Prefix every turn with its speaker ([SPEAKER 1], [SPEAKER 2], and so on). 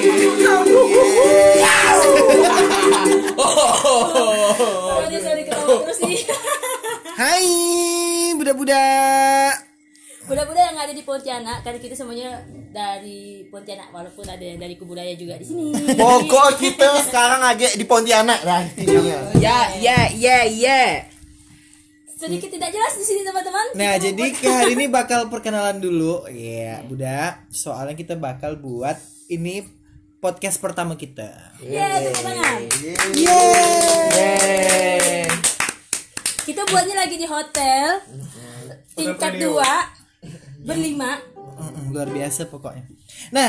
[SPEAKER 1] Oh, iya.
[SPEAKER 2] Pontianak karena kita semuanya dari Pontianak walaupun ada yang dari kebudaya juga di sini.
[SPEAKER 1] Oh.
[SPEAKER 3] Pokok kita sekarang aja di Pontianak lah intinya.
[SPEAKER 4] Ya, ya, ya, ya.
[SPEAKER 2] Sedikit tidak jelas di sini teman-teman.
[SPEAKER 1] Nah,
[SPEAKER 2] Kita
[SPEAKER 1] jadi
[SPEAKER 2] membuat-
[SPEAKER 1] ke hari ini bakal perkenalan dulu. Ya, Budak. Soalnya kita bakal buat ini podcast pertama kita.
[SPEAKER 2] Yeay, tepuk tangan.
[SPEAKER 1] Iya.
[SPEAKER 4] Yeay.
[SPEAKER 2] Kita buatnya lagi di hotel tingkat dua berlima.
[SPEAKER 1] Mm-mm, luar biasa pokoknya. Nah,